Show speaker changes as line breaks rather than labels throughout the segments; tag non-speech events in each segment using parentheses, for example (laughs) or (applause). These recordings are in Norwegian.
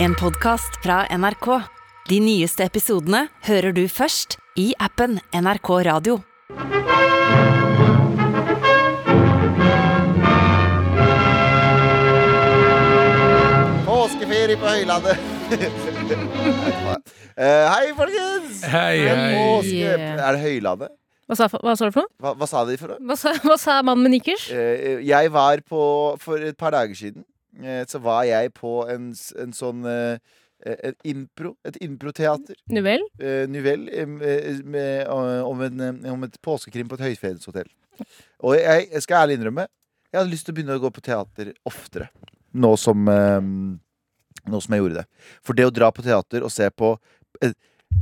En podcast fra NRK. De nyeste episodene hører du først i appen NRK Radio.
Påskeferie på høylandet. (laughs) Eh, hei, folkens!
Hei,
Det er
hei.
Påske... Er det Høylandet?
Hva sa, hva sa du for noe?
Hva, hva sa de for noe?
Hva sa, hva sa mannen med nikkers?
Eh, jeg var på For et par dager siden eh, så var jeg på en, s- en sånn eh, en impro, et improteater,
Nu vel.
uh, Nivell, om, en, eh, om et påskekrim på et høyfjellshotell. Og jeg, jeg skal ærlig innrømme, jeg hadde lyst til å begynne å gå på teater oftere. Nå som, eh, nå som jeg gjorde det. For det å dra på teater og se på et,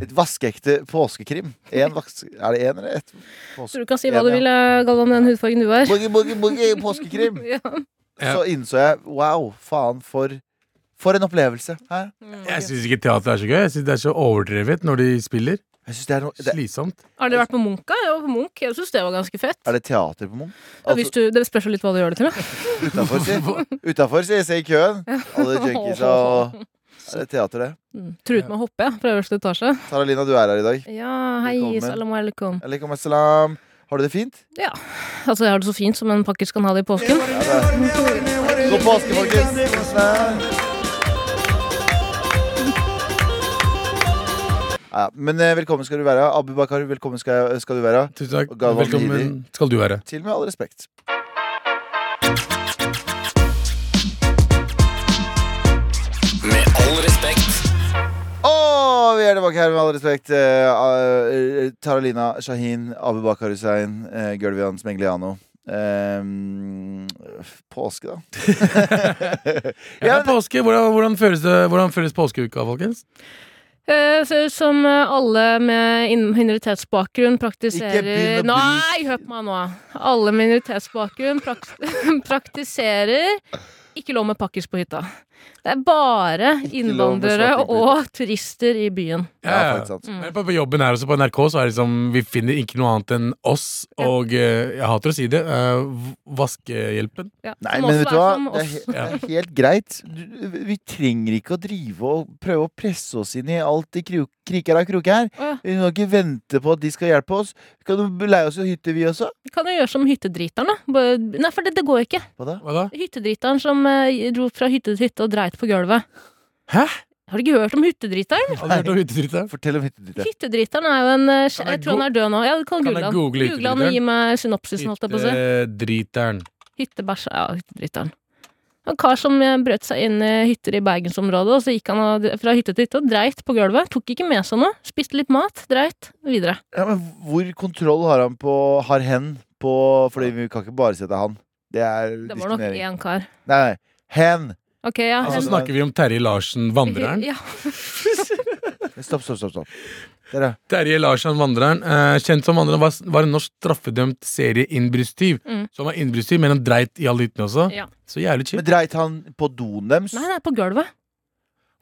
et vaskeekte påskekrim en vaks, Er det én eller ett?
Så du kan si hva du vil, eh, Galvan, med den hudfargen du (laughs) har.
Boogie, boogie, boogie, påskekrim!
Ja.
Ja.
Så innså jeg wow, faen, for, for en opplevelse. Hæ?
Jeg syns ikke teater er så gøy. Jeg synes Det er så overdrevet når de spiller.
Jeg synes det er, noe- det,
Slitsomt.
Har dere vært på Munch? da? Jeg var på Munch. Jeg syns det var ganske fett.
er det altså- teater på Munch?
Ja, hvis du, det spørs jo litt hva du gjør det til.
(laughs)
Da.
Utafor, si. Utafor, si. Se i køen. Alle junkies og Er det teater, det?
Truet Mm. med å hoppe ja, fra øverste etasje.
Taralina, du er her i dag.
Ja, hei,
Velkommen.
salam alaikum.
Alaikum assalam. Har du det fint?
Altså, jeg har det så fint som en pakkis kan ha det i påsken.
God påske, folkens! Ja, men eh, velkommen skal du være. Abu Bakar, velkommen skal, skal du være.
Tusen takk.
Og Galvan
Velkommen
Lidi.
skal du være.
Til med all respekt. Å, vi er tilbake her med all respekt. Eh, eh, Taralina Shahin, Abu Bakar Hussein, eh, Gulvian Smegliano. Eh, påske, da.
Ja,
(laughs) Ja,
men påske, hvordan, hvordan, føles det, hvordan føles påskeuka, folkens?
Eh, ser ut som eh, alle med inn- minoritetsbakgrunn praktiserer
Ikke begynn å bli-
Nei, hør på meg nå! Alle med minoritetsbakgrunn prakt (laughs) praktiserer ikke lov med pakkis på hytta. Det er bare
Ikke lov med
innvandrere
svartingbrud.
og turister i byen.
Ja, faktisk sant.
Mm.
Men på, på jobben her også, på NRK, så er det liksom Vi finner ikke noe annet enn oss og eh, Jeg hater å si det. eh, v- vaskehjelpen.
Ja,
Nei,
som
men
også
vet du
er
hva?
som
Det er,
oss.
he- det er helt greit. Du, vi trenger ikke å drive og prøve å presse oss inn i alt de kro- kriker av kroker her.
Å ja.
Vi kan ikke vente på at de skal hjelpe oss. Kan du leie oss en hytte, vi også?
Vi kan jo gjøre som hyttedriteren, da. Bare- Nei, for det, det går ikke.
Hva da?
Hva da?
Hyttedriteren som eh, dro fra hytte til hytte og dreit på gulvet.
Hæ?
Har du ikke hørt om hyttedriteren?
Har du hørt om hyttedrittet?
Fortell om hytten din.
Hyttedriteren er jo en
Kan
eh, Jeg,
jeg
tror han er død nå. Ja, du
Kan
kan, google
jeg
han.
google
Google han og gi meg synopsisen, holdt jeg på å si.
eh, Hyttedriteren.
Hyttebæsj Ja, hyttedriteren. En kar som eh, brøt seg inn i hytter i bergensområdet, og så gikk han og- fra hytte til hytte og dreit på gulvet. Tok ikke med seg noe. Spiste litt mat, dreit, videre.
Ja, men hvor kontroll har han på Har hen på Fordi vi kan ikke bare si at det er han. Det er
Det var nok
diskriminering.
én kar.
Nei, nei. Hen!
Ok, ja.
Altså
hen-
snakker vi om Terje Larsen, vandreren.
Ja,
Stopp, stopp, stopp. stopp. Dere.
Terje Larsen, Vandreren, eh, kjent som Vandreren, var, var en norsk straffedømt serieinnbruddstyv.
Mm.
Så han var innbruddstyv, men han dreit i alle hyttene også.
ja.
Så jævlig chill.
Men dreit han på doen deres?
Nei, det er på gulvet.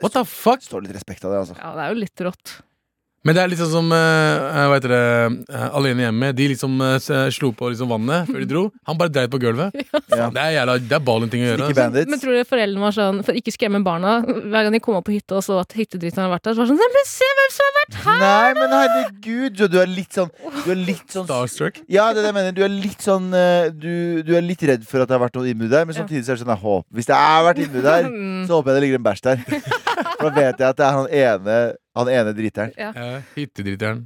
What the fuck?
Står litt respekt av det, altså.
Ja, det er jo litt rått.
Men det er liksom som eh, hva heter det, eh, Alene hjemme. De liksom eh, s- slo på liksom vannet før de dro. Han bare dreit på gulvet.
Ja.
Det er jævla, det er ballen ting å
Ikke
gjøre. altså.
Men
bandits.
tror dere foreldrene var sånn, for ikke skremme barna, hver gang de kom opp på hytta og så at hyttedritten hadde vært der, så var det sånn «Nei, men se hvem som har vært
Nei, men herregud, du, du er litt sånn Du er litt sånn
Starstruck.
Ja, det er det jeg mener. Du er litt sånn eh, Du, du er litt redd for at det har vært noe innbrudd der, men
Ja.
samtidig så er det sånn jeg håper, Hvis det har vært innbrudd der,
Mm.
så håper jeg det ligger en bæsj der. For da vet jeg at det er han ene, han ene driteren.
Ja, Eh, Hyttedriteren.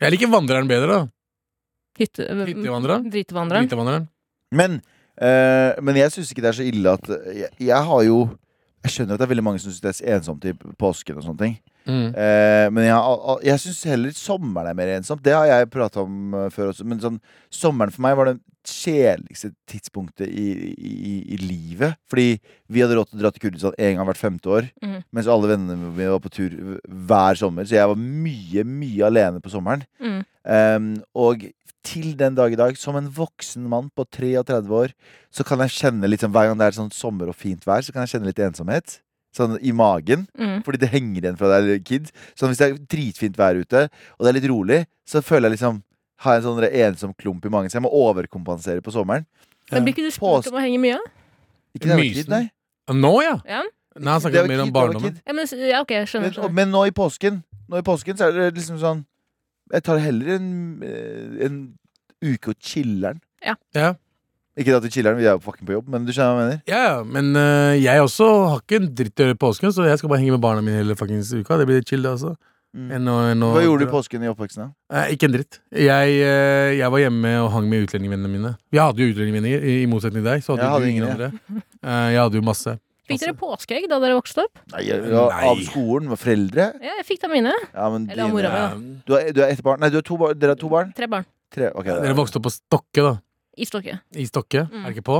Jeg liker Vandreren bedre, da.
Hytte,
Hyttevandreren.
Dritevandreren.
Hyttevandreren.
Men, eh, men jeg syns ikke det er så ille at jeg, jeg har jo Jeg skjønner at det er veldig mange som syns det er ensomt i påsken og sånne ting.
Mm.
Eh, men jeg, al- al- jeg syns heller sommeren er mer ensomt. Det har jeg prata om eh, før også. Men sånn, sommeren for meg var det kjedeligste tidspunktet i, i, i- i livet. Fordi vi hadde råd til å dra til Kurdistan én gang hvert femte år.
Mhm.
Mens alle vennene mine var på tur hver sommer. Så jeg var mye, mye alene på sommeren.
Mm.
Ehm, og til den dag i dag, som en voksen mann på 33 år, så kan jeg kjenne litt sånn hver gang det er sånn sommer og fint vær, så kan jeg kjenne litt ensomhet. Sånn i magen.
Mm.
Fordi det henger igjen fra deg, kid. Sånn Hvis det er dritfint vær ute, og det er litt rolig, så føler jeg liksom har jeg en sånn der ensom klump i magen, så jeg må overkompensere på sommeren.
Men blir ikke du spurt om å henge mye?
Ikke når jeg var
Mysen.
kid, nei.
Nå, ja!
Ja.
Nei, han
Det
snakker
var
mer om
kid, det var
barndommen.
kid.
Ja, men, ja ok, jeg skjønner.
Men, og,
skjønner.
men nå i påsken Nå i påsken så er det liksom sånn Jeg tar heller en, eh, en uke og chiller'n.
Ja.
Ikke at vi chiller'n, vi er jo fucking på jobb, men du skjønner hva jeg mener?
Ja, ja, men øh, jeg også har ikke en dritt å gjøre i påsken, så jeg skal bare henge med barna mine hele fuckings uka. Det blir chill, det også.
Mm.
Enn å- enn å-
Hva gjorde du i påsken i oppveksten? da?
Eh, ikke en dritt. Jeg, øh, jeg var hjemme og hang med utlendingvennene mine. Jeg hadde jo utlendingvenner, i, i motsetning til deg. Så
Jeg
hadde jeg
hadde
hadde ingen
ingen,
andre. Eh, jeg hadde jo masse.
Fikk
altså-
dere påskeegg da dere vokste opp?
Nei, jeg, ja,
Nei.
Av skolen? Med foreldre?
Ja, jeg fikk da mine.
Ja, men
Eller av
dine-
mora mi, da.
Eh,
du, er, du er ett barn? Nei, du er to barn. dere er to barn?
Tre barn.
Tre? Ok, det
Dere
er,
vokste opp på Stokke, da.
I stokket.
I Stokke.
Mm.
Er det ikke på?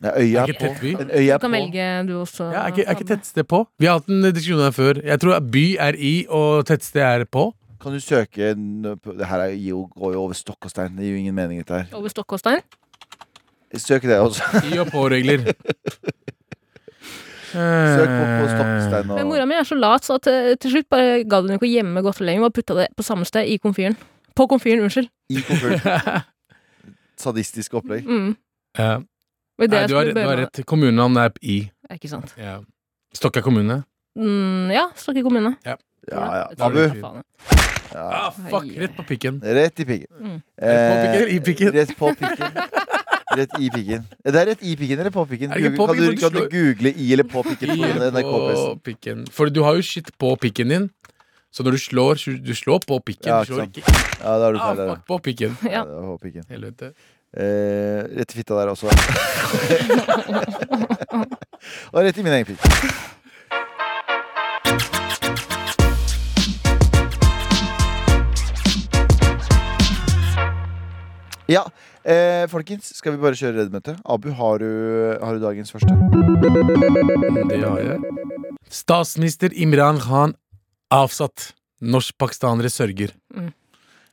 Nei, øya
Er
er
ikke
på.
Tettby?
En øya
Du
er
kan
på.
velge, du også.
Ja, er ikke, er ikke
Anne.
tettsted på? Vi har hatt en diskusjon her før. Jeg tror at by er i, og tettsted er på.
Kan du søke en- på- Det her er jo, går jo over stokk og stein. Det gir jo ingen mening, dette her.
Over stokk og stein.
Søk det også.
I og på-regler.
(laughs)
Eh.
Søk på, på stokk og stein.
Men
Og...
mora mi er så lat, så at, eh, til slutt bare ga hun ikke å gjemme godteri lenger. Hun Bare putta det på samme sted i komfyren. På komfyren, unnskyld.
I komfyrt. Sadistisk opplegg.
Mm.
(laughs) Ja.
Og i det
Nei,
jeg
du har,
skulle
du har
begynne-
rett. Kommunenavn er i.
Ja, Ikke sant.
Ja. Stokka kommune.
Mm, ja, Stokke kommune.
Ja, ja.
Jeg tror
Abu.
det. Faen, ja.
Ja.
Ah, fuck! Rett på pikken.
Rett i pikken.
Mm.
Eh,
Rett på pikken eller i pikken?
Rett på pikken. Rett i pikken. Det er rett i pikken eller på pikken.
Er det ikke på
Kan du,
pikken, for
kan du
du slår-
google i eller på pikken på
I
NRK-pressen?
på pikken. For du har jo shit på pikken din. Så når du slår, du slår på pikken.
Ja,
du slår
ikke
ikke
Ja, da har du
ah,
feil. der, da.
fuck på
(laughs)
pikken.
Ja, det var på pikken.
Helvete.
Eh, rett i fitta der også. Og rett i min egen pikk. Ja, eh, folkens, skal vi bare kjøre reddmøte? Abu, har du, har du dagens første?
Det har jeg. Statsminister Imran Khan avsatt. Norsk-pakistanere sørger.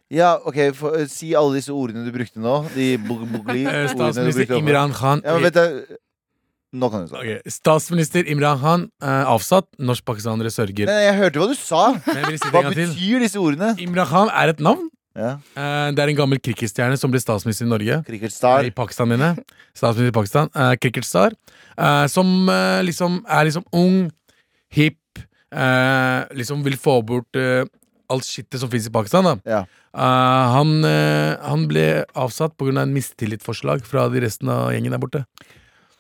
Ja, ok, få- Si alle disse ordene du brukte nå. De bug- bugli
(laughs) Eh,
ordene du brukte.
Statsminister
nå.
Imran Khan
Ja, men vet du, Nå kan du snakke.
Ok, Statsminister Imran Khan eh, avsatt. Norsk-pakistanere sørger.
Nei, jeg hørte hva du sa!
Men jeg vil si det
Hva
en gang til.
betyr disse ordene?
Imran Khan er et navn.
Ja,
Eh, det er en gammel cricketstjerne som ble statsminister i Norge.
Cricketstar.
I Pakistan, mener jeg. Statsminister i Pakistan. eh, Cricketstar. eh, som eh, liksom er liksom ung, hipp, eh, liksom vil få bort eh, alt skittet som fins i Pakistan. da
Ja.
Eh, han, eh, han ble avsatt pga. en mistillitsforslag fra de resten av gjengen der borte.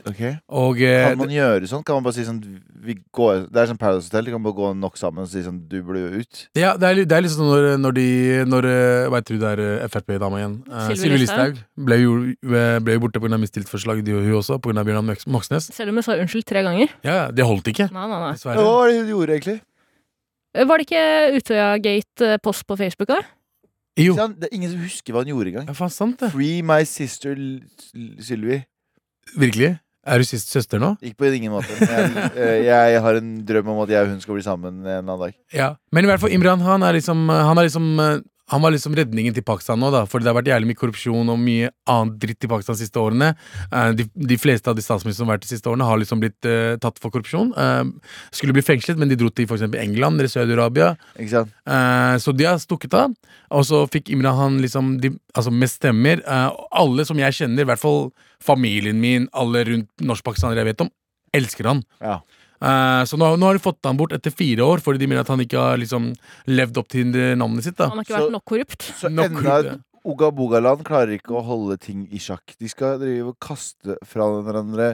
Ok
Og eh,
Kan man gjøre sånn? Kan man bare si sånn vi går, Det er sånn Paradise Hotel, de kan bare gå nok sammen og si sånn Du burde jo ut.
det, ja, det, er, li- det er liksom når, når de Når eh, Hva heter hun der eh, Frp-dama igjen? Eh,
Sylvi
Sylvi
Listhaug.
Listhaug. Ble, jo- eh, ble jo borte pga. mistillitsforslag, de og hun også, pga. Bjørnar Mox- Moxnes.
Selv om hun sa unnskyld tre ganger.
Ja, ja, det holdt ikke.
Nei, nei, nei.
Hva
Dessverre.
var det hun gjorde, egentlig?
Var det ikke Utøya-gate-post på Facebook, da?
Jo.
Ikke sant? det er ingen som husker hva hun gjorde engang.
Ja, faen sant det.
Free my sister L- L- Sylvi.
Virkelig? Er du sist søster nå?
Ikke på ingen måte. Men jeg, eh, jeg har en drøm om at jeg og hun skal bli sammen en eller annen dag.
Ja. Men i hvert fall, Imran han er liksom Han, er liksom, eh, han var liksom redningen til Pakistan nå, da. For det har vært jævlig mye korrupsjon og mye annet dritt i Pakistan de siste årene. Eh, De, de fleste av de statsministrene som har vært de siste årene, har liksom blitt eh, tatt for korrupsjon. Eh, skulle bli fengslet, men de dro til for eksempel England eller Saudi-Arabia.
Ikke sant?
Eh, så de har stukket av. Og så fikk Imran han liksom de, altså mest stemmer. Eh, og alle som jeg kjenner, i hvert fall familien min, alle rundt norskpakistanere jeg vet om, elsker han.
Ja.
Eh, så nå, nå har de fått han bort etter fire år fordi de mener at han ikke har liksom levd opp til eh, navnet sitt. da
Han har ikke
Så-
vært nok korrupt.
Så
Nok
enda et
klubbe.
Ogabogaland klarer ikke å holde ting i sjakk. De skal drive og kaste fra hverandre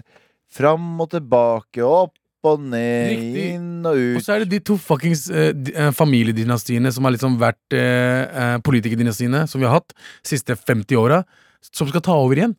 fram og tilbake, opp og ned,
Riktig.
inn og
Og
ut.
så er det de to fuckings eh, di- eh, familiedynastiene som har liksom vært eh, eh, politikerdynastiene som vi har hatt siste 50 åra, som skal ta over igjen.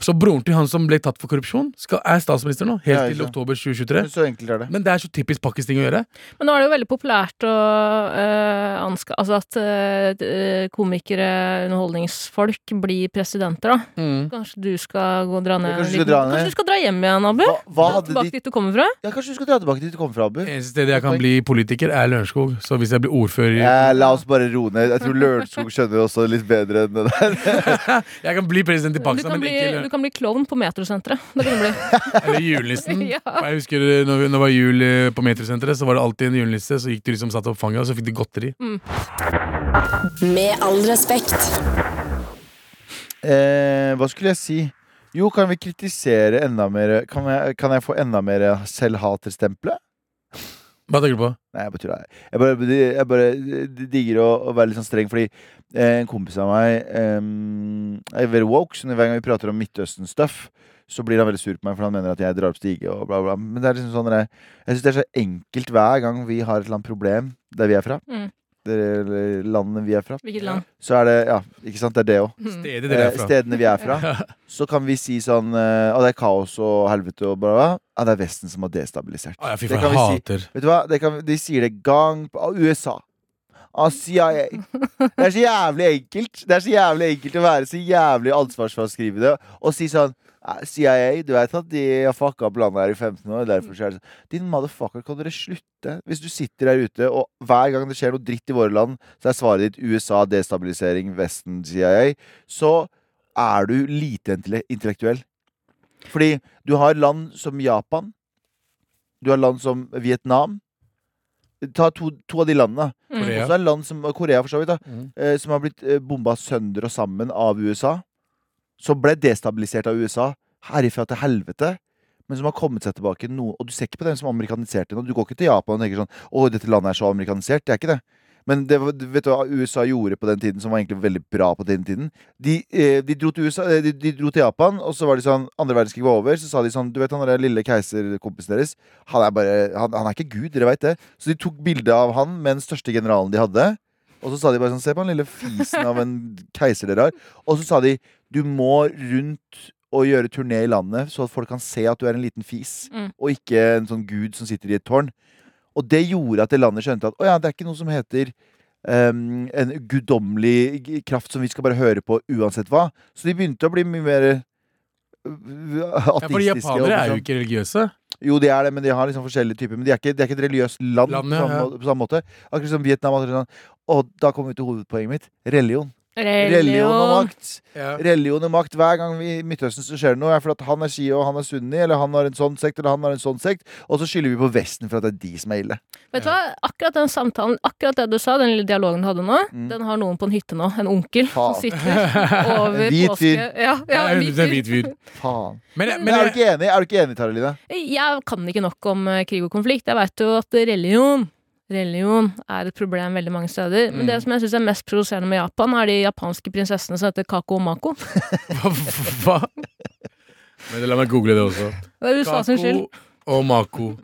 Så broren til han som ble tatt for korrupsjon, skal, er statsminister nå, helt
Ja, ikke
til
sant.
oktober 2023.
Men så enkelt er det.
Men det er så typisk pakkisting å gjøre.
Men nå er det jo veldig populært å øh, anska... Altså at øh, d- komikere, underholdningsfolk, blir presidenter, da. Kanskje du skal gå og dra ned?
Kanskje du
en
skal dra ned?
Kanskje du skal dra hjem igjen, Abu?
Hva, hva
Dra
hadde de
tilbake dit du kommer fra?
Ja, Kanskje du skal dra tilbake dit du kom fra, Abu.
Eneste stedet jeg kan bli politiker, er Lørenskog. Så hvis jeg blir ordfører
Eh, la oss bare roe ned. Jeg tror Lørenskog skjønner også litt bedre enn det der.
(laughs) Jeg kan bli president i
Du
Pakistan,
kan,
men
bli,
ikke i
du
Løren-
kan bli klovn på metrosenteret. Det kan du bli.
Eller julenissen.
Ja.
Og Jeg husker eh, når vi- når det var jul eh, på Metrosenteret, så var det alltid en julenisse. Så gikk du liksom satt opp fanget, og så fikk du godteri.
Med all respekt.
Eh, hva skulle jeg si? Jo, kan vi kritisere enda mer Kan jeg, kan jeg få enda mer selvhaterstempelet?
Hva tenker du på?
Nei, jeg bare tuller. Jeg bare, jeg bare digger å, å være litt sånn streng, fordi eh, en kompis av meg eh, er veldig woke, så hver gang vi prater om Midtøsten-stuff, så blir han veldig sur på meg, for han mener at jeg drar opp stige og bla, bla. Men det er liksom sånn der, jeg syns det er så enkelt hver gang vi har et eller annet problem der vi er fra,
Mm.
det, eller landet vi er fra,
Hvilket land?
så er det Ja, ikke sant? Det er det òg.
Mm.
Stedet dere
Eh,
er fra.
stedene vi er fra. Så kan vi si sånn eh, Å, det er kaos og helvete og bla, bla. Ja, det er Vesten som har destabilisert.
Å, jeg, fy
Det
faen,
kan
jeg
vi si.
hater
Vet du hva? Det kan, de sier det gang på ah, USA. Ah, CIA. Det er så jævlig enkelt Det er så jævlig enkelt å være så jævlig ansvarsfraskrivende og si sånn «Ah, CIA, du vet at de har fucka opp landet her i 15 år. Derfor så er det sånn Din motherfucker, kan dere slutte? Hvis du sitter der ute, og hver gang det skjer noe dritt i våre land, så er svaret ditt USA, destabilisering, Vesten, CIA, så er du lite intelle- intellektuell. Fordi du har land som Japan, du har land som Vietnam. Ta to, to av de landene.
mm.
Og
Korea.
så er land som Korea, for så vidt, da,
Mm.
eh, som har blitt eh, bomba sønder og sammen av USA. Som ble destabilisert av USA herifra til helvete. Men som har kommet seg tilbake noe Og du ser ikke på dem som amerikaniserte nå. Du går ikke til Japan og tenker sånn Å, dette landet er så amerikanisert. Det er ikke det. Men det, var- vet du hva USA gjorde på den tiden, som var egentlig veldig bra på den tiden? De, eh, de, dro, til USA, eh, de, de dro til Japan, og så var de sånn Andre verdenskrig var over, så sa de sånn Du vet han der lille keiserkompisen deres? Han er bare Han, han er ikke gud, dere veit det. Så de tok bilde av han med den største generalen de hadde. Og så sa de bare sånn Se på han lille fisen av en keiser dere har. Og så sa de Du må rundt og gjøre turné i landet, så at folk kan se at du er en liten fis,
Mm.
og ikke en sånn gud som sitter i et tårn. Og det gjorde at det landet skjønte at å ja, det er ikke noe som heter ehm, en guddommelig g- kraft som vi skal bare høre på uansett hva. Så de begynte å bli mye mer øh,
Ja,
ateistiske.
fordi japanere
og
er jo
sånn.
ikke religiøse.
Jo, de er det, men de har liksom forskjellige typer. Men de er ikke, de er ikke et religiøst land
Land,
på,
ja,
samme,
ja.
må- på samme måte. Akkurat som Vietnam. akkurat Sånn. Og da kommer vi til hovedpoenget mitt. Religion. Religion og
Religion.
makt.
Ja.
Religion og makt. Hver gang vi i Midtøsten så skjer det noe, er fordi at han er shia og han er sunni, eller han har en sånn sekt eller han har en sånn sekt, og så skylder vi på Vesten for at det er de som er ille.
Vet du hva, akkurat den samtalen, akkurat det du sa, den lille dialogen du hadde nå,
Mm.
den har noen på en hytte nå. En onkel som
Faen.
sitter over
En hvit
påske.
fyr.
Ja, ja, en
det er en
hvit fyr.
hvit fyr.
Faen.
Men,
Men, (laughs)
men
er du ikke enig, Er du ikke enig, Taralina?
Jeg kan ikke nok om eh, krig og konflikt. Jeg veit jo at religion Religion er et problem veldig mange steder. Men
Mm.
det som jeg syns er mest provoserende med Japan, er de japanske prinsessene som heter Kako og Mako. (laughs)
hva, (laughs) hva? Men la meg google det også.
Det er USA sin skyld.
Kako og Mako.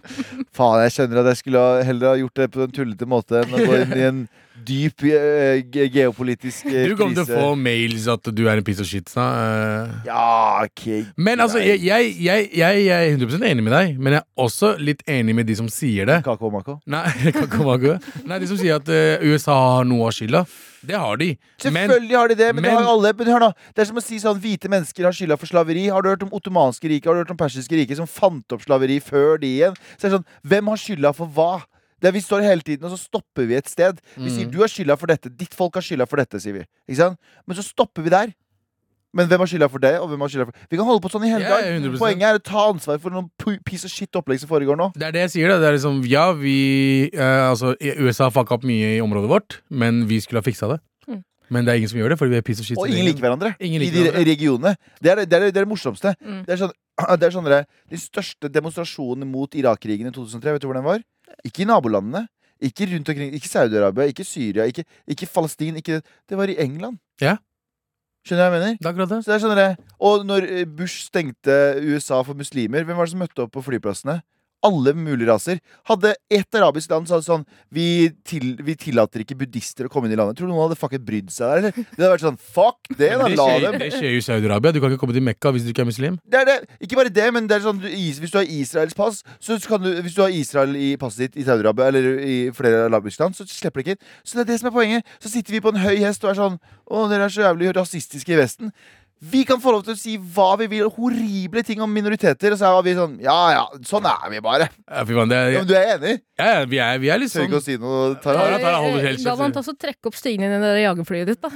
Faen, jeg skjønner at jeg skulle ha- heller ha gjort det på en tullete måte enn å gå inn i en dyp eh, ge- geopolitisk eh,
Du kommer til å
krise.
få mails at du er en piece of shit. sa, eh.
Ja, ok.
Men altså,
greit.
jeg, jeg, jeg, jeg, jeg er 100 enig med deg, men jeg er også litt enig med de som sier det.
Kako og mako.
Nei, (laughs) jeg kan ikke være god. Nei de som sier at eh, USA har noe av skylda. Det har de. Men
Selvfølgelig har de det, men, det
men-
har alle. Men hør nå, det er som å si sånn hvite mennesker har skylda for slaveri. Har du hørt om ottomanske riket? Har du hørt om persiske riket som fant opp slaveri før de igjen? Så det er sånn, hvem har skylda for hva? Det er, vi står hele tiden, og så stopper vi et sted. Vi sier
Mm.
du har skylda for dette, ditt folk har skylda for dette, sier vi. Ikke sant? Men så stopper vi der. Men hvem har skylda for det, og hvem har skylda for Vi kan holde på sånn i hele
Ja,
dag.
100%.
Poenget er å ta ansvar for noen pu- piece of shit opplegg som foregår nå.
det er det jeg sier. da. Det er liksom, ja, vi eh, Altså, USA har fucka opp mye i området vårt, men vi skulle ha fiksa det.
Mm.
Men det er ingen som gjør det, fordi vi er piece of shit.
Og
som
ingen
regel.
liker hverandre
Ingen
i
liker
de re-
hverandre.
regionene. Det er det, det, er det, det, er det morsomste.
Mm.
Det er sånn, (clears throat) det er sånn dere, De største demonstrasjonene mot Irak-krigen i 2003, vet du hvor den var? Ikke i nabolandene. Ikke rundt omkring, ikke Saudi-Arabia, ikke Syria, ikke, ikke Palestin. Ikke, det var i England.
Ja.
Skjønner du hva jeg mener?
Det er akkurat det.
Så det er sånn dere- Og når eh, Bush stengte USA for muslimer, hvem var det som møtte opp på flyplassene? Alle mulige raser. Hadde ett arabisk land sagt sånn vi, til, vi tillater ikke buddhister å komme inn i landet. Tror du noen hadde fucking brydd seg der? Eller? Det hadde vært sånn fuck det,
(laughs)
da.
Men det
La
skjer-
dem
Det skjer jo i Saudi-Arabia. Du kan ikke komme til Mekka hvis du ikke er muslim.
det er det. Ikke bare det, men det er sånn, du, is- hvis du har Israels pass så kan du, Hvis du har Israel i passet ditt i Saudi-Arabia eller i flere arabiske land, så slipper det ikke inn. Så det er det som er poenget. Så sitter vi på en høy hest og er sånn Å, dere er så jævlig rasistiske i Vesten. Vi kan få lov til å si hva vi vil, horrible ting om minoriteter, og så er vi sånn Ja ja, sånn er vi bare.
Ja, fy faen, det er,
Ja, men du er enig?
ja, ja, vi, er, vi er litt
Tør
sånn
ikke å si noe,
Ja,
Tara?
da tar jeg holder helt
Galvan,
kjeft. (laughs)
ta så trekk opp stigen i det der jagerflyet ditt, da.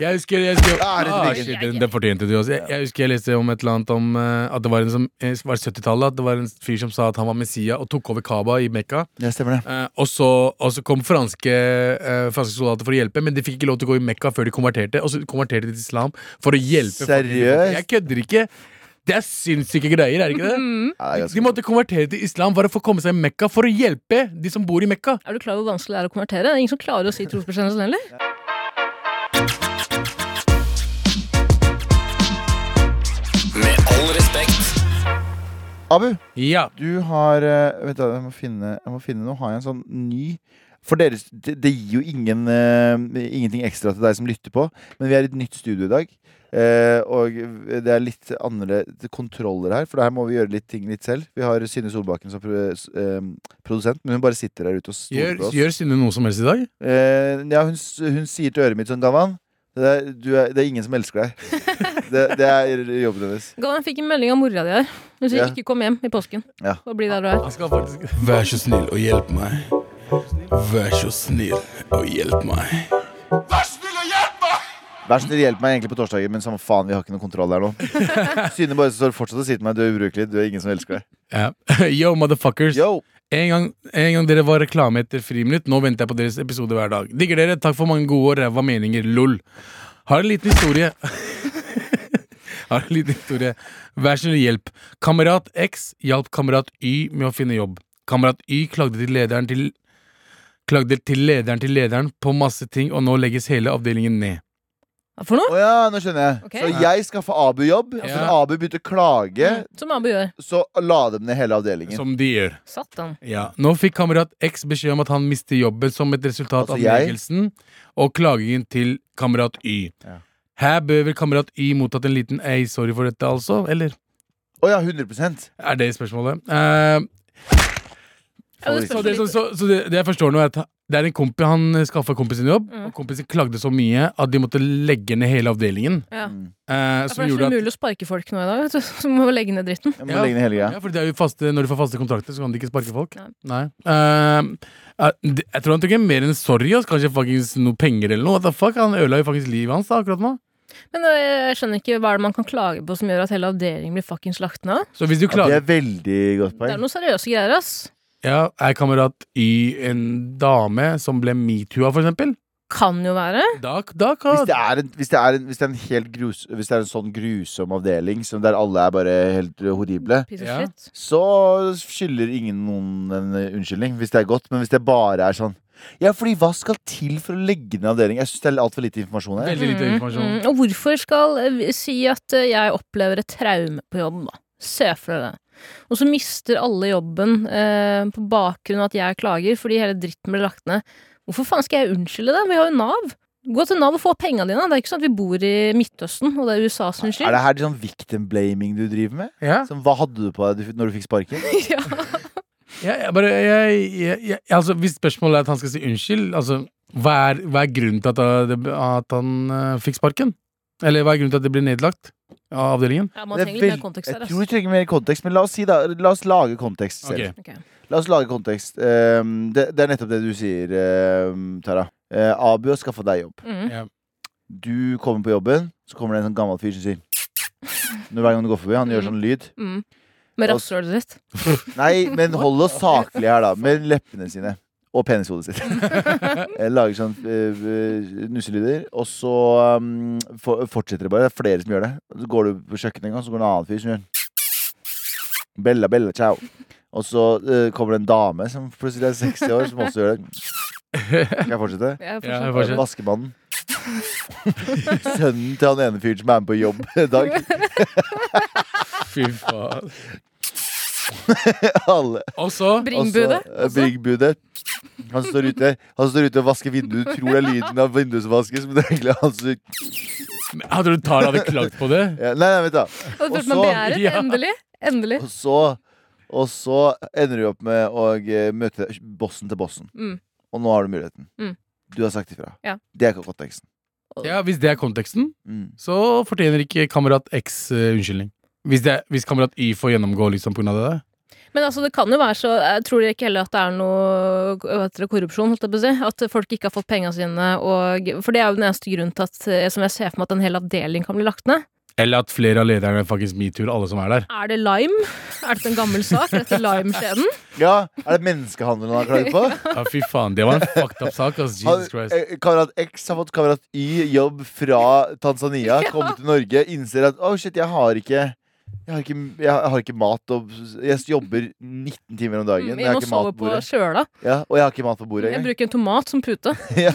Jeg husker, jeg husker
Ja, det er
ah,
digg.
shit, den, den fortjente du også. Jeg, jeg husker jeg leste om et eller annet om eh, at det var en som eh, var det 70-tallet. At det var en fyr som sa at han var Messia og tok over Kaba i Mekka.
Ja, stemmer det.
Eh, og, så, og så kom franske, eh, franske soldater for å hjelpe, men de fikk ikke lov til å gå i Mekka før de konverterte. Og så konverterte de til islam for å hjelpe. folk.
Seriøst?
Jeg kødder ikke. Det er sinnssyke greier, er det ikke det?
Mm-hmm. Ja, det er
De
ganske-
måtte konvertere til islam for å få komme seg i Mekka for å hjelpe de som bor i Mekka.
Er du klar over hvor vanskelig det er å konvertere? Det er ingen som klarer å si trosbekjennelsen heller.
Med all respekt.
Abu,
Ja.
du har eh, Vent, da, jeg må finne, jeg må finne Nå har jeg en sånn ny For dere, det, det gir jo ingen, eh, ingenting ekstra til deg som lytter på, men vi er i et nytt studio i dag. eh, og det er litt andre kontroller her, for her må vi gjøre litt ting litt selv. Vi har Synne Solbakken som pro, s- eh, produsent, men hun bare sitter der ute og stoler
Gjør,
på oss.
gjør Synne noe som helst i dag?
Eh, ja, hun, s- hun sier til øret mitt sånn, Gavan, det er, du er, det er ingen som elsker deg.
(laughs)
Det, det er jobben hennes.
Gavan fikk en melding av mora di her. Hun
Ja.
sier 'ikke kom hjem i påsken'.
Ja.
Og bli der du er.
Han skal faktisk
Vær så snill og hjelp meg. Vær så snill og hjelp meg.
Vær så snill, hjelp meg egentlig på torsdager, men samme faen, vi har ikke noe kontroll
(laughs)
der nå. Synne bare står fortsatt og sier til meg, du er ubrukelig, du er ingen som elsker deg.
Ja. (laughs) Yo, motherfuckers.
Yo!
En, gang, en gang dere var reklame etter friminutt, nå venter jeg på deres episode hver dag. Digger dere. Takk for mange gode og ræva meninger. Lol. Har en liten historie. (laughs) Har en liten historie. Vær så snill, hjelp. Kamerat X hjalp kamerat Y med å finne jobb. Kamerat Y klagde til lederen til Klagde til lederen til lederen på masse ting, og nå legges hele avdelingen ned.
Hva
Å
for noe?
ja, nå skjønner jeg.
Ok.
Så jeg skaffa Abu jobb, og så
Ja.
Abu begynte å klage,
Som Abu gjør.
så la dem ned hele avdelingen.
Som de gjør.
Satan.
Ja. Nå fikk kamerat X beskjed om at han mister jobben som et resultat
Altså jeg?
av nedleggelsen og klagingen til kamerat Y.
Ja.
Her bør vel kamerat Y mottatt en liten ei sorry for dette, altså? Eller
Å ja, 100
er det spørsmålet? Eh,
Ja, det
så
spørs
det, så,
litt.
så, så det, det jeg forstår nå, er at det er en kompi, han skaffa kompisen jobb,
Mm.
og kompisen klagde så mye at de måtte legge ned hele avdelingen.
Ja.
Mm.
eh,
Ja, for
som
det er så
gjorde at
umulig å sparke folk nå i dag, vet du. (laughs) Så må vi legge ned dritten.
Jeg må
Ja.
legge ned hele
ja,
greia.
for det er jo faste, Når du får faste kontrakter, så kan de ikke sparke folk.
Nei.
Nei. Eh, eh, det- jeg tror han tok en mer enn sorry, ass. kanskje faktisk noe penger eller noe. What the fuck, Han ødela jo faktisk livet hans da, akkurat nå.
Men øh, jeg skjønner ikke hva er det man kan klage på som gjør at hele avdelingen blir fuckings lagt ned.
Så hvis du
Ja, det
klarer
er veldig godt
Det er
poeng.
noen seriøse greier, ass.
ja, Er kamerat Y en dame som ble metoo-a, for eksempel?
Kan jo være.
Da, da
Hvis
kan
sånn-
det er en, hvis det er en, hvis det er en, helt grus, hvis det er en sånn grusom avdeling som der alle er bare helt horrible,
Piece
Ja.
of shit.
så skylder ingen noen en eh, unnskyldning, hvis det er godt. Men hvis det bare er sånn Ja, fordi hva skal til for å legge ned avdeling? Jeg syns det er altfor lite informasjon her.
Veldig lite
Mm,
informasjon.
mm. Og hvorfor skal øh, vi si at øh, jeg opplever et traume på jobb, da? Se for deg det. Og så mister alle jobben øh, på bakgrunn av at jeg klager fordi hele dritten ble lagt ned. Hvorfor faen skal jeg unnskylde det? Vi har jo Nav. Gå til Nav og få penga dine. Det er ikke sånn at vi bor i Midtøsten, og det er USA sin
Er
skyld. (laughs)
det her sånn victim blaming du driver med?
ja,
Som, hva hadde du på deg du- når du fikk sparken?
ja.
ja, jeg bare, jeg, jeg, jeg, altså, Hvis spørsmålet er at han skal si unnskyld, altså, hva, er, hva er grunnen til at, uh, det, at han uh, fikk sparken? Eller hva er grunnen til at det ble nedlagt av avdelingen?
ja, man
Det er
trenger litt
vel-
mer kontekst her,
Jeg
ass.
tror vi trenger mer kontekst, men la oss, si da, la oss lage kontekst selv.
Ok.
Ok.
La oss lage kontekst. Ehm, det, det er nettopp det du sier, ehm, Tara. Eh, Abu har skaffa deg jobb.
Mm.
Du kommer på jobben, så kommer det en sånn gammel fyr som sier Når hver gang du går forbi, han gjør sånn lyd.
Mm. Med rasshølet ditt.
Nei, men hold oss saklig her, da. Med leppene sine. Og penishodet sitt. Jeg Lager sånn eh, nusselyder. Og så um, for, fortsetter det bare. Det er flere som gjør det. Så går du på kjøkkenet en gang, så går det en annen fyr som gjør Bella, bella, ciao. Og så eh, kommer det en dame som plutselig er 60 år, som også gjør det. Skal jeg fortsette?
Jeg
Ja,
forstår.
jeg Fortsett.
Vaskemannen. Sønnen til han ene fyren som er med på jobb i dag.
Fy faen.
Alle.
Og så
Bringbudet.
Og så, eh, Bringbudet. Han står ute Han står ute og vasker vinduet. Du tror det er lyden av vinduet som vaskes, men det er egentlig han som
Hadde du Tara hadde klagd på det?
ja, Nei, nei, vent, da.
Og
Og
følte man
så-
begjæret.
Ja.
Endelig. Endelig.
Og så, og så ender du opp med å eh, møte bossen til bossen.
Mm.
Og nå har du muligheten.
Mm.
Du har sagt ifra.
Ja.
Det er ikke konteksten.
Ja, Hvis det er konteksten,
Mm.
så fortjener ikke kamerat X eh, unnskyldning. Hvis, det, er- hvis kamerat Y får gjennomgå liksom pga. det der.
Men altså, det kan jo være så Jeg tror ikke heller at det er noe hva heter det, korrupsjon, holdt jeg på å si. At folk ikke har fått penga sine og For det er jo den eneste grunnen til at eh, som jeg ser for meg at en hel avdeling kan bli lagt ned.
Eller at flere av lederne faktisk metoo-er alle som er der.
Er det Lime? Er dette en gammel sak? Er dette Lime-skjeden?
Ja, Er det menneskehandel han har klaget på?
Ja, fy faen, det var en fucked up sak. ass.
Han-
Jesus Christ.
eh, Kamerat X har fått kamerat Y jobb fra
(laughs)
Tanzania, kommet til Norge, innser at oh shit, jeg har ikke jeg har, ikke, jeg har ikke mat og Jeg jobber 19 timer om dagen. Jeg
Jeg
har
Mm, må
ikke mat
sove
på
på
bordet.
sjøla.
Ja, og jeg har ikke mat på bordet
Jeg
engang.
bruker en tomat som pute.
(laughs) Ja.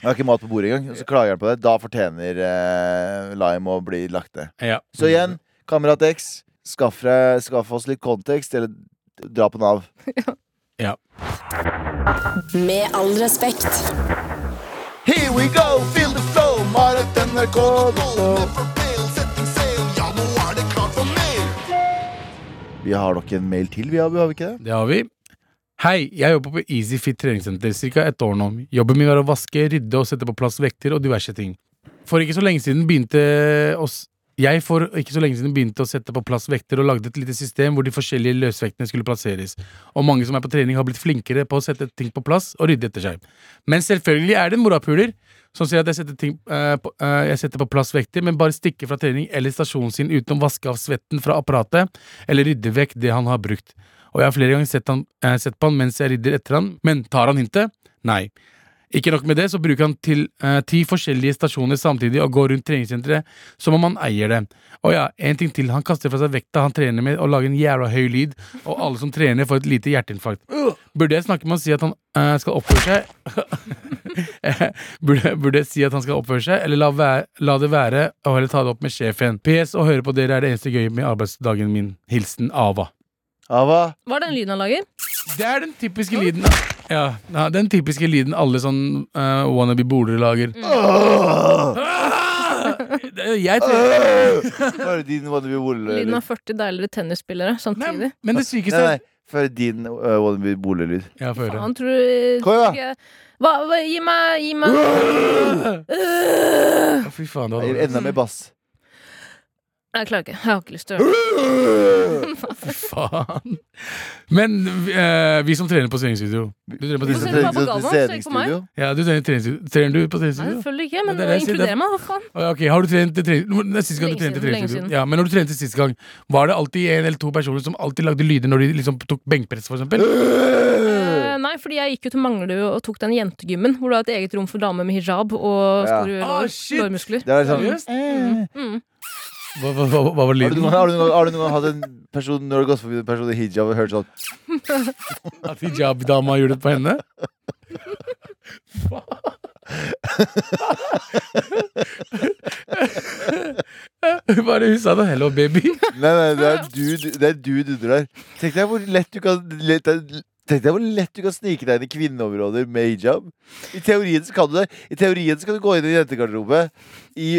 Jeg har ikke mat på bordet engang. Og så klager han på det. Da fortjener eh, Lime å bli lagt ned.
Ja.
Så
Mm.
igjen, kamerat X, skaff, deg- skaff oss litt kontekst, eller dra på Nav.
Med all respekt.
Here we go, feel the flow, Marit NRK. Vi har nok en mail til, vi, Abu, har vi ikke det?
Det har vi. Hei, jeg jobber på EasyFit treningssenter ca. ett år nå. Jobben min var å vaske, rydde og sette på plass vekter og diverse ting. For ikke så lenge siden begynte oss jeg for ikke så lenge siden begynte å sette på plass vekter og lagde et lite system hvor de forskjellige løsvektene skulle plasseres, og mange som er på trening har blitt flinkere på å sette ting på plass og rydde etter seg. Men selvfølgelig er det en morapuler som sier at jeg setter, ting, eh, på, eh, jeg setter på plass vekter, men bare stikker fra trening eller stasjonen sin uten å vaske av svetten fra apparatet eller rydde vekk det han har brukt og jeg har flere ganger sett, han, eh, sett på han mens jeg ridder etter han, men tar han hintet? Nei. Ikke nok med det, så bruker han til eh, ti forskjellige stasjoner samtidig og går rundt treningssenteret som om han eier det. Og ja, en ting til, han kaster fra seg vekta han trener med og lager en jævla høy lyd, og alle som trener får et lite hjerteinfarkt. Burde jeg snakke med han og si at han eh, skal oppføre seg? Eh, (laughs) burde, burde jeg si at han skal oppføre seg, eller la, væ- la det være og heller ta det opp med sjefen? PS, å høre på dere er det eneste gøye med arbeidsdagen min. Hilsen Ava.
Ava?
Hva er den lyden han lager?
Det er den typiske lyden Ja, ja den typiske lyden alle sånn eh, wannabe bolere lager.
Åh!
Ah! Det- Jeg tror
Før din wannabe
Lyden
Wole-lyd.
av 40 deiligere tennisspillere
Nei,
samtidig.
men det
Nei,
sykeste
nei. Før din uh, wannabe Wole-lyd.
Ja, få høre.
Han tror
Kom igjen, da.
ikke- hva, hva, Gi meg Gi meg Øh.
Å, Fy faen, det
Jeg gir
var
Enda mer bass.
Jeg klarer ikke. Jeg har ikke lyst til å gjøre det.
Fy faen. Men eh, vi som trener på treningsstudio Du trener på
Vi som
se
treningsstudio?
trenger
på meg på Galvan,
til
se ikke på meg.
treningsstudio.
Ja, du trener, i treningsstudio. trener du på
Nei,
treningsstudio?
selvfølgelig ikke, men
Det er det jeg sier, det
inkluder
er-
meg, hva faen.
Å, ja, Ok, har du trent i trening... Nå- det er Sist gang du
Lenge
trente i
siden, lenge
treningsstudio.
siden.
Ja, men når du trente sist gang, var det alltid en eller to personer som alltid lagde lyder når de liksom tok benkpress, for
Sånn.
eksempel? Øh.
Eh, nei, fordi jeg gikk jo til Manglerud og tok den jentegymmen, hvor du har et eget rom for damer med hijab og
Ja.
store
Ah,
lår,
shit!
lårmuskler.
Det er sånn
Seriøst?
eh.
Mm.
Hva, hva, hva, hva var
Har du,
lyden?
noen, gang- har, du noen, gang- har du
(laughs)
noen gang hatt en person Når du har gått forbi en person i hijab og hørt sånn
At hijab-dama gjorde det på henne? Faen. Bare hun sa det 'hello, baby'.
Nei, nei, det er dude, det er dude under der. Tenk deg hvor lett du kan lett, Tenk deg hvor lett du kan snike deg inn i kvinneområder med hijab. I teorien så kan du det. I teorien så kan du gå inn i jentegarderobe i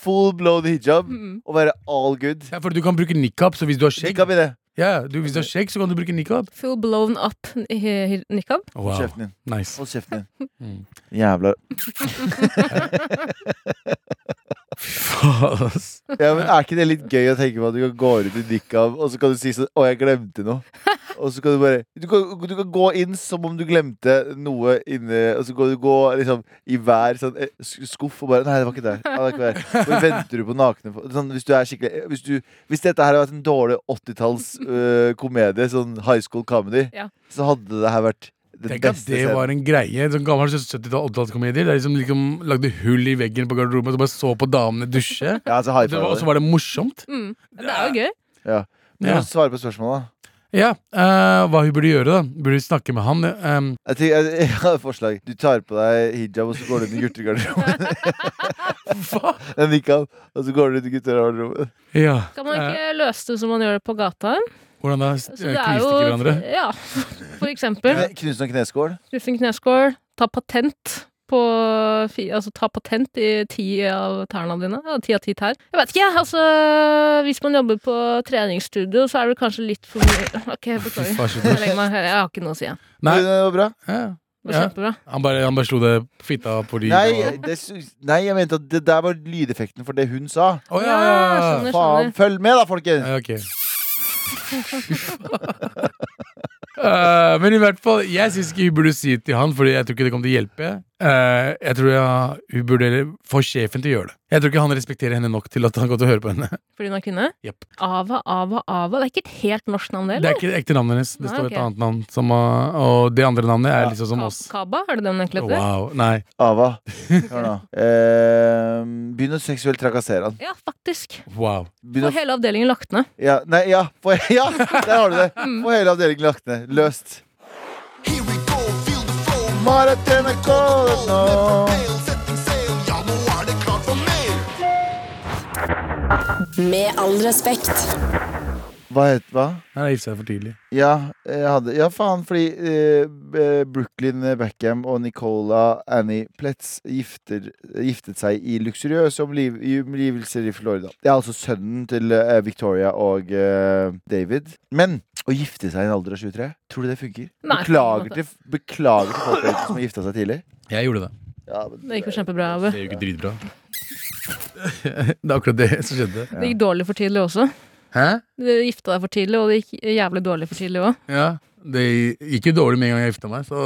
full blown hijab og være all good.
Ja, for du kan bruke nikab, så hvis du har skjegg,
Kikka med det.
ja, du, hvis du har skjegg, så kan du bruke nikab.
Full blown up i- i-
(laughs)
nikab.
Wow,
Kjeften din.
nice.
Hold kjeften din.
Mm.
Jævla
Faen, ass.
Ja, men Er ikke det litt gøy å tenke på at du kan gå ut i nikab, og så kan du si sånn 'Å, jeg glemte noe'. Og så kan du bare Du kan, du kan gå inn som om du glemte noe inne, og så kan du gå liksom i hver sånn eh, sk- skuff og bare 'Nei, det var ikke der'. Nei, det var ikke der. Og venter du på nakne fo- sånn, Hvis du er skikkelig Hvis, du, hvis dette her hadde vært en dårlig 80-talls øh, komedie, sånn high school comedy,
Ja.
så hadde det her vært den
Tenk at
beste
det var
scenen.
en greie. Sånn gammel 70-80-tallskomedier der de som liksom lagde hull i veggen på garderoben og bare så på damene dusje.
Ja, altså, high
Det var- Og så
five.
var det morsomt.
Mm. Det er jo gøy.
Ja. Men
Ja.
Svare på spørsmålet, da.
Ja, eh, Hva hun burde gjøre, da? Burde hun snakke med han? eh,
Jeg, tenker, jeg, (laughs) jeg har et forslag. Du tar på deg hijab, og så går du inn i guttegarderoben.
(laughs) Hva?
(laughs) Nei, nikab, og så går du inn i guttegarderoben.
Ja.
Kan man
eh,
ikke løse det som man gjør det på gata?
Hvordan da?
Så det
Knivstikker
er jo
hverandre?
Ja, (laughs) for eksempel.
Kne- Knuse noen kneskål.
Knuffen kneskål. Ta patent på fi- Altså ta patent i ti av tærne dine. Ja, ti av ti tær. Jeg vet ikke, jeg. Altså, hvis man jobber på treningsstudio, så er det kanskje litt for mye Ok,
Fy
beklager.
faen, så
Jeg
bra.
legger meg her. Jeg har ikke noe å si, jeg. (laughs)
Nei,
Det var bra.
ja.
Det var
Ja.
kjempebra.
Han, bare, han bare slo det fitta på de
Nei,
og-
det, sy- nei, jeg mente at det der var lydeffekten for det hun sa.
Å, ja, ja, ja.
Jeg skjønner.
Faen, følg med da, folkens!
Ja, ok. Eh, men i hvert fall, jeg syns ikke hun burde si det til han, Fordi jeg tror ikke det kommer til å hjelpe. Eh, jeg tror jeg, hun burde få sjefen til å gjøre det. Jeg tror ikke han respekterer henne nok til at han går til å høre på henne. (laughs)
fordi hun er kvinne.
Jepp.
Ava, Ava, Ava. Det er ikke et helt norsk navn, det?
Det
eller?
er ikke det ekte navnet hennes. Det
Nei,
står
ok.
et annet navn. Som, uh, og det andre navnet er
Ja.
liksom som
Ka-
oss.
Kaba, er det den egentlig heter?
Wow, nei
(laughs) Ava, hør
(laughs)
nå. Eh, begynn å seksuelt trakassere han.
Ja, faktisk.
Wow.
Begynn
Og
å
hele avdelingen lagt ned.
Ja, nei, ja, på, (laughs) ja, der har du det.
Mm.
På hele avdelingen lagt ned. Løst.
Here we go, feel the flow.
Maraton er kommet nå.
Ja, nå er det klart for mer.
Med all respekt.
Hva het hva?
Nei, det gifta seg for tidlig.
Ja, jeg hadde, ja faen, fordi eh, eh, Brooklyn Beckham og Nicola Annie Pletz gifter, giftet seg i luksuriøse omliv, i omgivelser i Florida. Det er altså sønnen til eh, Victoria og eh, David. Men å gifte seg i en alder av 23, tror du det funker?
Nei, på
beklager,
en
til, beklager til folk der ute som har gifta seg tidlig.
Jeg gjorde det.
Ja, men
Det gikk jo kjempebra. Ave.
Det er jo ikke dritbra. (laughs) det er akkurat det som skjedde.
Det gikk dårlig for tidlig også.
Hæ?
Du gifta deg for tidlig, og det gikk jævlig dårlig for tidlig òg.
Ja. Det gikk jo dårlig med en gang jeg gifta meg, så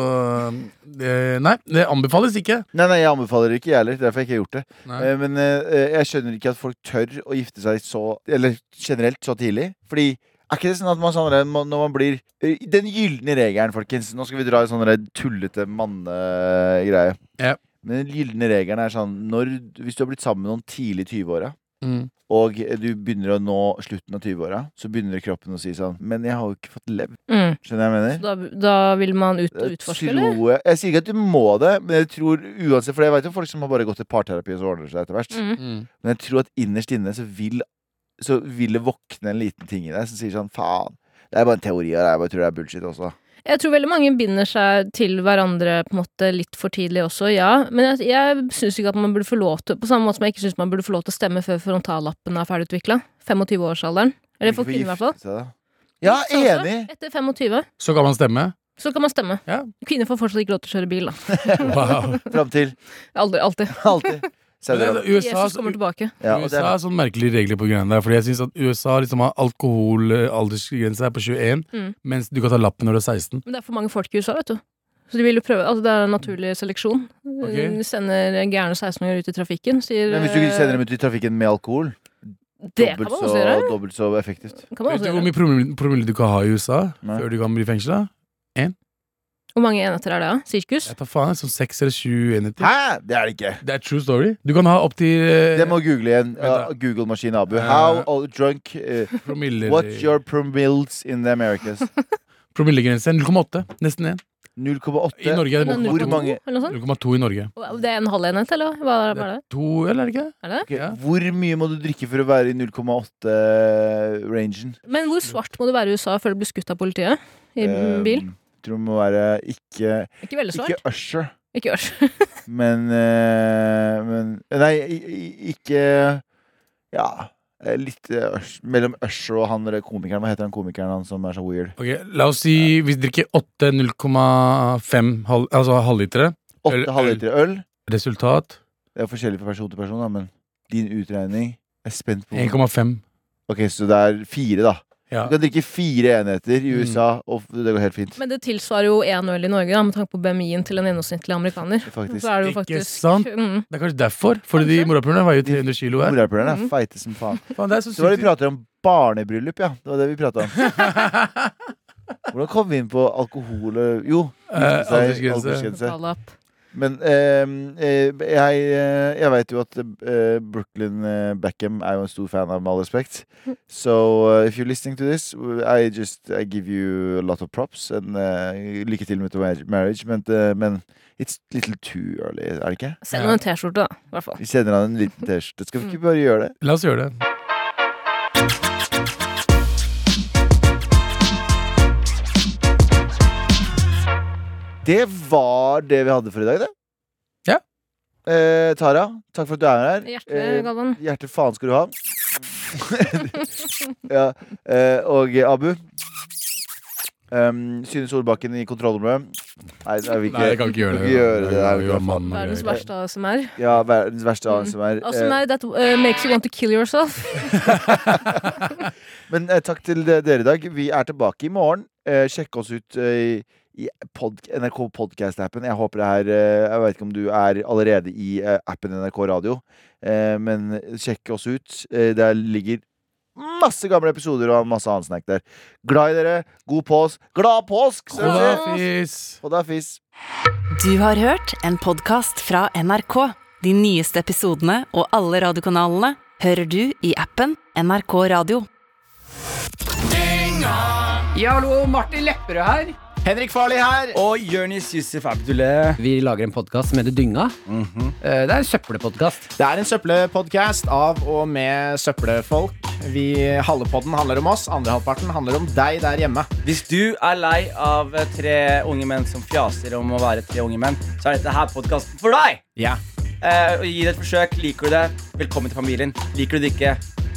um, det, Nei, det anbefales ikke.
Nei, nei, jeg anbefaler det ikke, jeg heller. Derfor har jeg ikke gjort det.
Nei.
Eh, Men eh, jeg skjønner ikke at folk tør å gifte seg så Eller generelt så tidlig. Fordi er ikke det sånn at man sånn der, må- når man blir eh, Den gylne regelen, folkens. Nå skal vi dra en sånn der tullete mannegreie.
Ja.
Men den gylne regelen er sånn når, Hvis du har blitt sammen med noen tidlig i 20-åra,
Mm.
og eh, du begynner å nå slutten av 20-åra, så begynner kroppen å si sånn Men jeg har jo ikke fått levd.
Mm.
Skjønner du hva jeg mener?
Så da, da vil man ut,
Jeg
utforske,
tror-
eller?
Jeg sier ikke at du må det, men jeg tror uansett For jeg vet jo folk som har bare gått til parterapi, og så ordner det seg etter hvert.
Mm.
Men jeg tror at innerst inne så vil Så vil det våkne en liten ting i deg som sier sånn faen. Det er bare en teori, og jeg bare tror det er bullshit også.
Jeg tror veldig mange binder seg til hverandre på en måte litt for tidlig også, ja. Men jeg, jeg syns ikke at man burde få lov til På samme måte som jeg ikke syns man burde få lov til å stemme før frontallappen er ferdigutvikla. 25-årsalderen. Eller for kvinner, i hvert fall.
Ja,
Gifte seg også.
enig!
Etter 25
Så kan man stemme.
så kan man stemme.
Ja.
Kvinner får fortsatt ikke lov til å kjøre bil, da.
(laughs)
Wow.
Fram til
Aldri, alltid.
alltid. Saudi-Arabia.
(laughs) USA,
Jesus kommer tilbake.
Ja, og det
USA
er,
har sånne merkelige regler på greiene der. Fordi jeg synes at USA liksom har alkoholaldersgrense på 21,
Mm.
mens du kan ta lappen når du er 16.
Men det er for mange folk i USA, vet du. Så de vil jo prøve, altså Det er en naturlig seleksjon.
Ok.
De sender gærne 16-åringer ut i trafikken. Sier, eh,
men hvis du ikke sender dem ut i trafikken med alkohol,
Det kan
dobbelt
man
så,
også gjøre.
dobbelt så effektivt.
Kan man
Vet du
også
hvor
gjøre.
mye promille, promille du kan ha i USA
Nei.
før du kan bli fengsla?
Hvor mange enheter er det? da? Sirkus?
Jeg tar faen, sånn 6 eller 7 enheter.
Hæ?! Det er det ikke!
Det er true story. Du kan ha opptil eh,
Det må google igjen.
Vent da.
Ja, Google-maskin Abu.
Eh.
How old drunk eh,
promiller,
What's your promilles in the
(laughs)
Americas?
promillegrense. 0,8. Nesten 1. I
0,8.
Norge er det
Er det
hvor
0,2,
mange-
Eller noe sånt?
0,2 i Norge.
Og Det er en halv enhet, eller hva er
Det
hva er
er
det?
to, eller er det ikke?
Er det?
Ok,
Ja.
Hvor mye må du drikke for å være i eh, 0,8-rangen?
Men hvor svart må du være i USA før du blir skutt av politiet? I
Eh,
bil?
Eh, Tror det må være ikke,
Ikke veldig
ikke
svart.
Usher,
Ikke ørs.
men, eh, men Nei, i- i- ikke Ja. eh, Litt eh, Usher, mellom Usher og han der komikeren. Hva heter han komikeren han som er så weird?
Ok, La oss si hvis du drikker 8 0,5 halv, altså halvlitere. Øl-
Åtte
øl.
halvliter øl.
Resultat
Det er forskjellig fra person til person, da, men din utregning Jeg er spent på
1,5.
Ok, Så det er fire, da.
Ja.
Du kan drikke fire enheter i
Mm.
USA, og f- det går helt fint.
(laughs) Men det tilsvarer jo én øl i Norge, da, med tanke på BMI-en til en gjennomsnittlig amerikaner.
Faktisk.
Så er det jo
Ikke
faktisk
sant?
Mm.
Det er kanskje derfor. Fordi de morapulerne veier jo 300 kilo hver.
Morapulerne er
Mm.
feite som faen.
Faen, det er så
Så var det vi
sykt.
prater om barnebryllup, ja. Det var det vi pratet om. Hvordan kom vi inn på alkohol og Jo,
(laughs) Eh,
gifte seg,
aldersgrense.
aldersgrense.
Frontalapp.
Men ehm, eh, jeg, eh, jeg vet jo at eh, Brooklyn eh, Beckham er jo en stor fan av Med all respekt. So eh, if you're listening to this, I just I give you a lot of props. And eh, lykke til med the mar- marriage. Men, eh, men it's little too early, er det ikke?
Send henne en T-skjorte, da. I hvert fall.
Vi sender han en liten T-skjorte. Skal vi ikke bare gjøre det?
La oss gjøre det.
Det var det vi hadde for i dag, det.
Ja.
Eh, Tara, takk for at du er
Eh,
her. Eh,
Hjertelig, Galvan.
hjerte faen skal du ha. (laughs) ja. eh, og Abu. Um, Synne Ehm, Solbakken i kontrollrommet. Nei, jeg vil ikke,
Nei, jeg kan ikke gjøre det.
Ikke gjøre det der, i
Jeg
hvert
gjør
fall.
mannen og
Verdens
greier.
verste ASMR.
Ja, verdens verste ASMR. Eh,
ASMR that eh, makes you want to kill yourself.
Men eh, takk til de- dere i dag. Vi er tilbake i morgen. Eh, sjekk oss ut eh, i pod NRK Podcast-appen. Jeg håper det er eh, Jeg vet ikke om du er allerede i eh, appen NRK Radio, eh, men sjekk oss ut. Eh, der ligger masse gamle episoder og masse annen snack der. Glad i dere. God påsk. Glad påsk!
Hola,
Søren!
fis!
Og da fiss.
Du har hørt en podkast fra NRK. De nyeste episodene og alle radiokanalene hører du i appen NRK Radio.
Ja, hallo, Martin Lepperød her.
Og Jonis Yusuf Abdullah.
Vi lager en podkast som heter Dynga.
Mhm.
Eh, Det er en søppelpodkast.
Det er en søppelpodcast av og med søppelfolk. Vi, halve podden handler om oss, andre halvparten handler om deg der hjemme.
Hvis du er lei av tre unge menn som fjaser om å være tre unge menn, så er dette her podkasten for deg!
Ja.
Eh, og gi det et forsøk. Liker du det, velkommen til familien. Liker du det ikke,